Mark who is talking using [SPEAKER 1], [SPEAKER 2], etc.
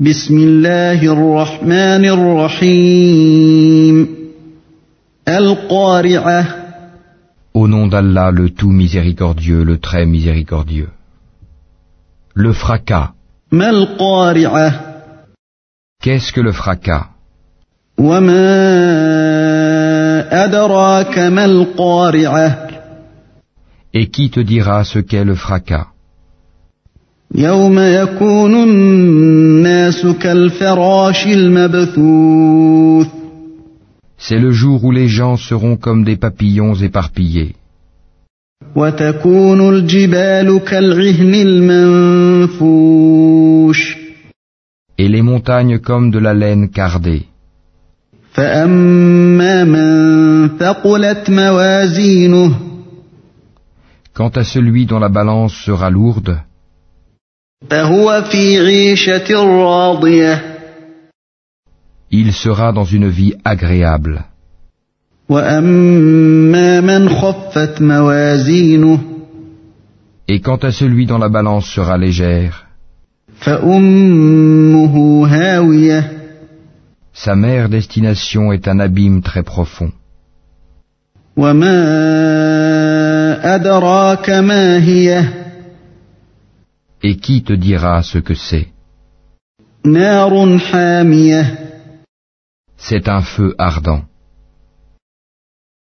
[SPEAKER 1] بسم الله الرحمن الرحيم القارعة
[SPEAKER 2] Au nom d'Allah, le tout miséricordieux, le très miséricordieux. Le fracas.
[SPEAKER 1] ما القارعة
[SPEAKER 2] Qu'est-ce que le fracas
[SPEAKER 1] وما أدراك ما القارعة
[SPEAKER 2] Et qui te dira ce qu'est le fracas
[SPEAKER 1] يوم يكون الناس كالفراش المبثوث
[SPEAKER 2] C'est le jour où les gens seront comme des papillons éparpillés,
[SPEAKER 1] وتكون الجبال كالعهن المنفوش
[SPEAKER 2] et les montagnes comme de la laine cardée.
[SPEAKER 1] فأما من ثقلت موازينه
[SPEAKER 2] Quant à celui dont la balance sera lourde,
[SPEAKER 1] فهو في عيشة راضية
[SPEAKER 2] il sera dans une vie agréable.
[SPEAKER 1] وأما من خفت موازينه
[SPEAKER 2] Et quant à celui dont la balance sera légère,
[SPEAKER 1] فأمه هاوية
[SPEAKER 2] sa mère destination est un abîme très profond.
[SPEAKER 1] وما أدراك ما هي
[SPEAKER 2] Et qui te dira ce que c'est
[SPEAKER 1] نار حامية
[SPEAKER 2] C'est un feu ardent.